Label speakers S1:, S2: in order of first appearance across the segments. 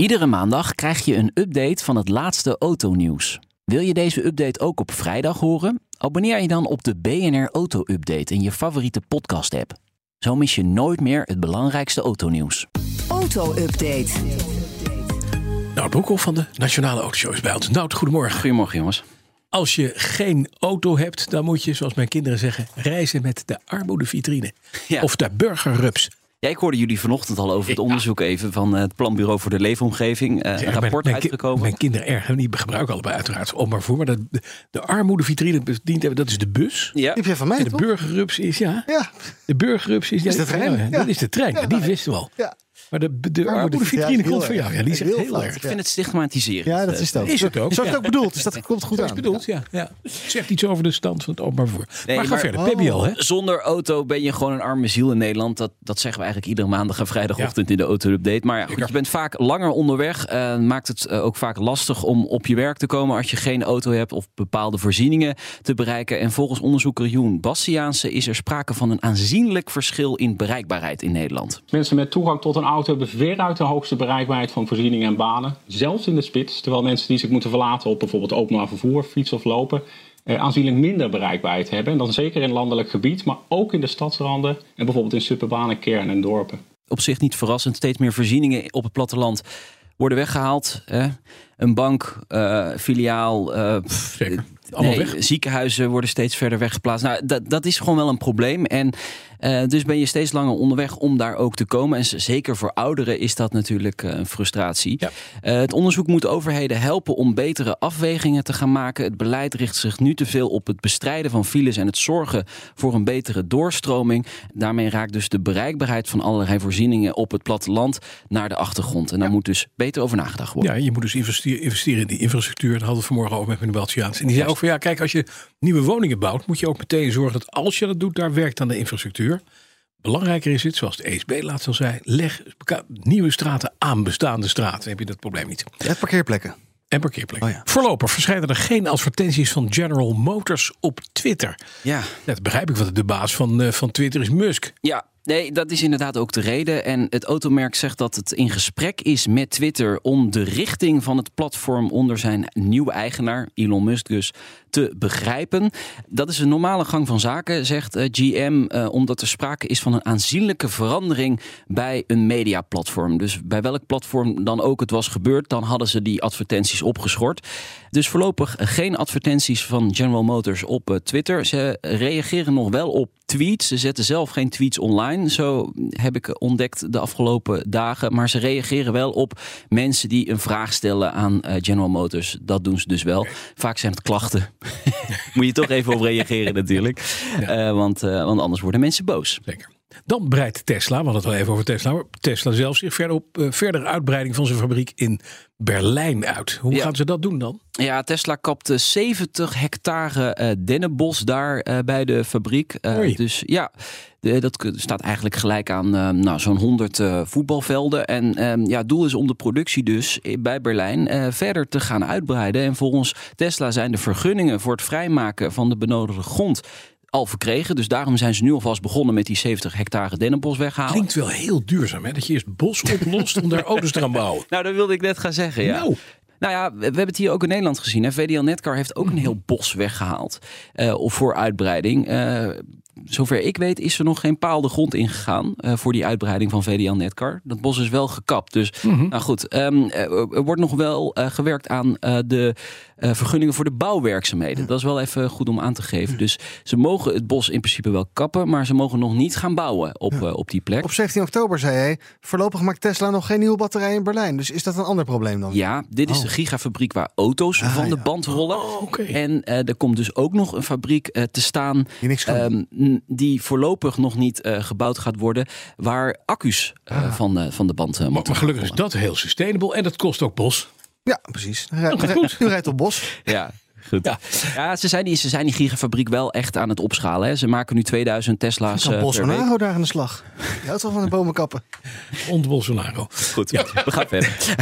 S1: Iedere maandag krijg je een update van het laatste autonieuws. Wil je deze update ook op vrijdag horen? Abonneer je dan op de BNR Auto Update in je favoriete podcast-app. Zo mis je nooit meer het belangrijkste autonieuws.
S2: Auto-update.
S3: Nou, Broekhoff van de Nationale Autoshow is bij ons. Nou, goedemorgen.
S1: Goedemorgen jongens.
S3: Als je geen auto hebt, dan moet je, zoals mijn kinderen zeggen, reizen met de armoedevitrine.
S1: Ja.
S3: Of de burgerrups.
S1: Ja, ik hoorde jullie vanochtend al over het
S3: Ja.
S1: onderzoek even van eh, het Planbureau voor de Leefomgeving. eh,
S3: Ja,
S1: een rapport
S3: mijn, mijn,
S1: uitgekomen.
S3: ki- mijn kinderen erg, die gebruiken allebei uiteraard om maar voor. Maar dat, de, de armoedevitrine bediend hebben, dat is de bus.
S1: ja.
S4: Die heb je van mij,
S3: En de
S4: toch?
S3: burgerrups is, ja.
S4: Ja.
S3: De burgerrups is, ja,
S4: Is de trein,
S3: ja,
S4: ja.
S3: Dat is de trein,
S4: Ja. nou,
S3: ja, die wisten we al.
S4: Ja.
S3: Maar de, de
S4: Armoedevitrine
S3: armoedevitrine
S4: is heel
S3: komt van
S4: erg.
S3: jou. Ja, die is echt
S4: Heel
S3: heel
S4: flauw.
S3: erg.
S1: Ik vind het stigmatiserend.
S4: Ja, dat is het ook.
S3: Dus, Is het ook.
S4: Zo is
S3: Ja.
S4: het ook bedoeld, dus dat komt goed
S3: Dat is
S4: aan.
S3: bedoeld, ja. ja. Zegt iets over de stand van het openbaar vervoer.
S1: Nee,
S3: maar ga
S1: maar-
S3: verder. PBL,
S5: Oh.
S3: hè?
S1: Zonder auto ben je gewoon een arme ziel in Nederland. Dat, dat zeggen we eigenlijk iedere maandag en vrijdagochtend in de auto-update. Maar ja, goed, je bent vaak langer onderweg. eh, maakt het eh, ook vaak lastig om op je werk te komen als je geen auto hebt of bepaalde voorzieningen te bereiken. En volgens onderzoeker Joen Bastiaanse is er sprake van een aanzienlijk verschil in bereikbaarheid in Nederland.
S5: Mensen met toegang tot een auto hebben veruit de hoogste bereikbaarheid van voorzieningen en banen, zelfs in de spits. Terwijl mensen die zich moeten verlaten op bijvoorbeeld openbaar vervoer, fiets of lopen, eh, aanzienlijk minder bereikbaarheid hebben. En dan zeker in landelijk gebied, maar ook in de stadsranden en bijvoorbeeld in suburbane kernen en dorpen.
S1: op zich niet verrassend. Steeds meer voorzieningen op het platteland worden weggehaald. Hè? Een bank, eh, filiaal, eh, pff,
S3: Zeker.
S1: eh,
S3: Allemaal
S1: nee,
S3: weg.
S1: ziekenhuizen worden steeds verder weggeplaatst. Nou, dat, dat is gewoon wel een probleem. En eh, dus ben je steeds langer onderweg om daar ook te komen. En z- zeker voor ouderen is dat natuurlijk eh, een frustratie.
S3: Ja.
S1: Eh, het onderzoek moet overheden helpen om betere afwegingen te gaan maken. Het beleid richt zich nu te veel op het bestrijden van files en het zorgen voor een betere doorstroming. Daarmee raakt dus de bereikbaarheid van allerlei voorzieningen op het platteland naar de achtergrond. En daar moet dus beter over nagedacht worden.
S3: Ja, je moet dus investeren, investeren in die infrastructuur. Daar hadden we vanmorgen over met meneer Baltiaans. En die zei ook van ja, kijk, als je nieuwe woningen bouwt, moet je ook meteen zorgen dat als je dat doet, daar werkt aan de infrastructuur. Belangrijker is het, zoals de ESB laatst al zei, leg beka- nieuwe straten aan bestaande straten. Dan heb je dat probleem niet.
S4: En parkeerplekken.
S3: En parkeerplekken.
S4: Oh ja.
S3: Voorlopig verschijnen er geen advertenties van General Motors op Twitter.
S1: Ja.
S3: Dat begrijp ik, want de baas van, eh, van Twitter is Musk.
S1: Ja, nee, dat is inderdaad ook de reden. En het automerk zegt dat het in gesprek is met Twitter om de richting van het platform onder zijn nieuwe eigenaar, Elon Musk dus, te begrijpen. Dat is een normale gang van zaken, zegt eh, GM, eh, omdat er sprake is van een aanzienlijke verandering bij een mediaplatform. Dus bij welk platform dan ook het was gebeurd, dan hadden ze die advertenties opgeschort. Dus voorlopig geen advertenties van General Motors op eh, Twitter. Ze reageren nog wel op tweets. Ze zetten zelf geen tweets online. Zo heb ik ontdekt de afgelopen dagen. Maar ze reageren wel op mensen die een vraag stellen aan eh, General Motors. Dat doen ze dus wel. Vaak zijn het klachten. Moet je toch even op reageren natuurlijk. Eh, want, eh, want anders worden mensen boos.
S3: Zeker. Dan breidt Tesla, we hadden het al even over Tesla, maar Tesla zelf zich verder op eh, verdere uitbreiding van zijn fabriek in Berlijn uit. Hoe
S1: Ja.
S3: gaan ze dat doen dan?
S1: Ja, Tesla kapte 70 hectare eh, dennenbos daar eh, bij de fabriek. Eh,
S3: Oei.
S1: dus ja, de- dat k- staat eigenlijk gelijk aan eh, nou, zo'n 100 eh, voetbalvelden. En ehm, ja, het doel is om de productie dus eh, bij Berlijn eh, verder te gaan uitbreiden. En volgens Tesla zijn de vergunningen voor het vrijmaken van de benodigde grond al verkregen. Dus daarom zijn ze nu alvast begonnen met die 70 hectare dennenbos weghalen.
S3: Klinkt wel heel duurzaam, hè? Dat je eerst bos oplost om daar auto's te gaan bouwen.
S1: Nou, dat wilde ik net gaan zeggen, ja.
S3: Nou,
S1: Nou ja, we we hebben het hier ook in Nederland gezien. Hè? VDL Netcar heeft ook een heel bos weggehaald eh, of voor uitbreiding. Eh, zover ik weet is er nog geen paal de grond ingegaan eh, voor die uitbreiding van VDL Netcar. Dat bos is wel gekapt. Dus nou goed, ehm, eh, er wordt nog wel eh, gewerkt aan eh, de eh, vergunningen voor de bouwwerkzaamheden. Dat is wel even goed om aan te geven. Dus ze mogen het bos in principe wel kappen, maar ze mogen nog niet gaan bouwen op, eh, op die plek.
S4: Op
S3: Oh.
S4: 17 oktober zei hij, voorlopig maakt Tesla nog geen nieuwe batterij in Berlijn. Dus is dat een ander probleem dan?
S1: Ja, dit is een gigafabriek waar auto's
S6: Ah,
S1: van de
S6: ja.
S1: band rollen.
S3: Oh, oké. Oh.
S1: En eh, er komt dus ook nog een fabriek eh, te staan
S6: Die niks kan.
S1: ehm, n- die voorlopig nog niet eh, gebouwd gaat worden, waar accu's eh, van, eh, van de band eh,
S3: Maar,
S1: moeten
S3: maar Ah. gelukkig is
S1: rollen.
S3: dat heel sustainable en dat kost ook bos.
S6: Ja, precies. Hij
S1: Oh,
S6: rijdt- U rijdt op bos.
S1: Ja. Goed. Ja, ze, zijn die, ze zijn die gigafabriek wel echt aan het opschalen. Hè. Ze maken nu 2000
S6: Ik
S1: Tesla's
S6: kan
S1: eh,
S6: Bos
S1: per
S6: van
S1: week.
S6: Aro daar aan de slag. Je houdt wel van de bomen kappen.
S3: Onder Bolsonaro.
S1: Goed, we gaan verder.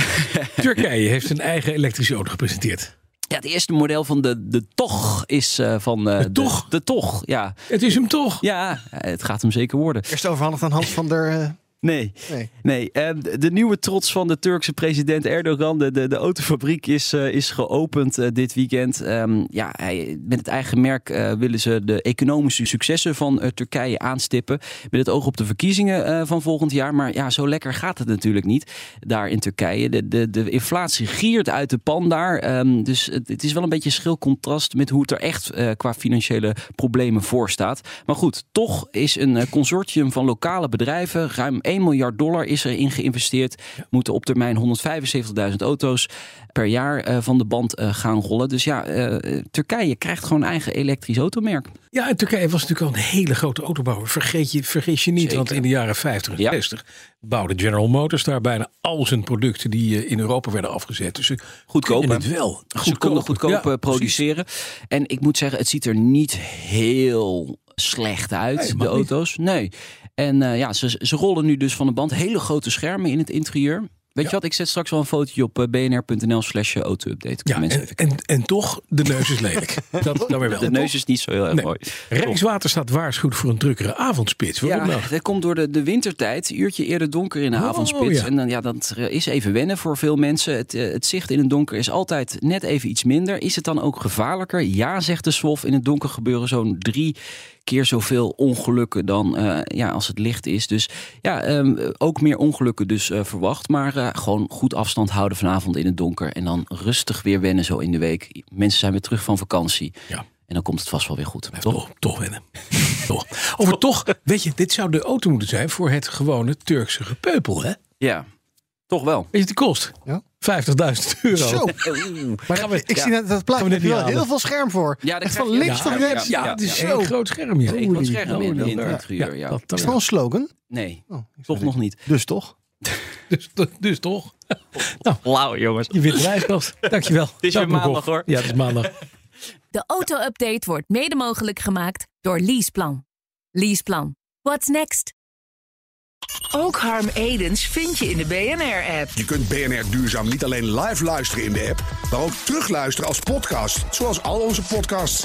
S3: Turkije heeft zijn eigen elektrische auto gepresenteerd.
S1: Ja, het eerste model van de, de Toch is eh, van... eh,
S3: De Toch?
S1: De, Toch, ja.
S3: Het is hem toch?
S1: Ja, het gaat hem zeker worden.
S6: Eerst overhandigd aan Hans van der... eh,
S1: Nee.
S6: nee.
S1: Nee, eh, de de nieuwe trots van de Turkse president Erdogan. De, de, de autofabriek is, eh, is geopend eh, dit weekend. Ehm, ja, hij, met het eigen merk eh, willen ze de economische successen van eh, Turkije aanstippen. Met het oog op de verkiezingen eh, van volgend jaar. Maar ja, zo lekker gaat het natuurlijk niet daar in Turkije. De, de, de inflatie giert uit de pan daar. Ehm, dus het, het is wel een beetje schil contrast met hoe het er echt eh, qua financiële problemen voor staat. Maar goed, toch is een eh, consortium van lokale bedrijven. Ruim 1 miljard dollar is erin geïnvesteerd. Moeten op termijn 175.000 auto's per jaar eh, van de band eh, gaan rollen. Dus ja, eh, Turkije krijgt gewoon eigen elektrisch automerk.
S3: Ja, en Turkije was natuurlijk al een hele grote autobouwer. Vergeet je, vergeet je niet,
S1: Zeker.
S3: want in de jaren 50 en
S1: Ja.
S3: 60 bouwde General Motors daar bijna al zijn producten die eh, in Europa werden afgezet. Dus ze
S1: Goedkoper.
S3: kunnen het wel.
S1: Ze konden goedkoop
S3: Ja,
S1: eh, produceren. En ik moet zeggen, het ziet er niet heel slecht uit,
S3: Nee,
S1: de
S3: mag niet.
S1: auto's. Nee. En eh, ja, ze, ze rollen nu dus van de band hele grote schermen in het interieur. Weet je wat, ik zet straks wel een fotootje op eh, bnr.nl slash eh, auto-update.
S3: Ja,
S1: Mensen
S3: en, en, en toch, de neus is lelijk. dat dan weer wel.
S1: De neus is niet zo heel erg
S3: Nee.
S1: mooi.
S3: Rijkswaterstaat waarschuwt voor een drukkere avondspits. Waarom
S1: Ja,
S3: nou?
S1: dat komt door de, de wintertijd. Uurtje eerder donker in de
S3: Oh,
S1: avondspits.
S3: ja.
S1: En dan, ja, dat is even wennen voor veel mensen. Het, eh, het zicht in het donker is altijd net even iets minder. Is het dan ook gevaarlijker? Ja, zegt de SWOF. In het donker gebeuren zo'n drie keer zoveel ongelukken dan eh, ja, als het licht is. Dus ja, ehm, ook meer ongelukken dus eh, verwacht. Maar eh, gewoon goed afstand houden vanavond in het donker. En dan rustig weer wennen zo in de week. Mensen zijn weer terug van vakantie.
S3: Ja.
S1: En dan komt het vast wel weer goed. Toch?
S3: Toch, toch wennen. toch. Over toch, weet je, dit zou de auto moeten zijn voor het gewone Turkse gepeupel, hè?
S1: Ja, toch wel.
S3: Weet je, de kost?
S6: Ja.
S3: 50.000 euro.
S6: Zo. Maar
S3: Gaan we-
S6: ik zie net dat plaatje. Daar
S3: Gaan we dit
S6: heb je
S3: niet
S6: wel
S3: halen?
S6: heel veel scherm voor.
S1: Ja, dat
S6: Echt van
S1: krijg je-
S6: links
S1: ja,
S6: tot
S1: ja,
S6: rechts.
S1: ja,
S3: Ja, het is
S1: ja.
S3: zo'n groot scherm, ja.
S1: Eén groot scherm in, in het interieur, ja. eh,
S3: dat-
S6: Is
S3: dat-
S6: dat wel een slogan?
S1: Nee,
S6: Oh, ik
S1: toch nog niet.
S6: Dus toch?
S3: dus, dus toch.
S1: Blauw, jongens.
S3: Je wint de lijstkast. Dankjewel. Het
S1: is weer maandag, hoor.
S3: Ja, het is maandag.
S7: De auto-update wordt mede mogelijk gemaakt door Leaseplan. Leaseplan. What's next?
S8: Ook Harm Edens vind je in de BNR-app.
S9: Je kunt BNR Duurzaam niet alleen live luisteren in de app, maar ook terugluisteren als podcast, zoals al onze podcasts.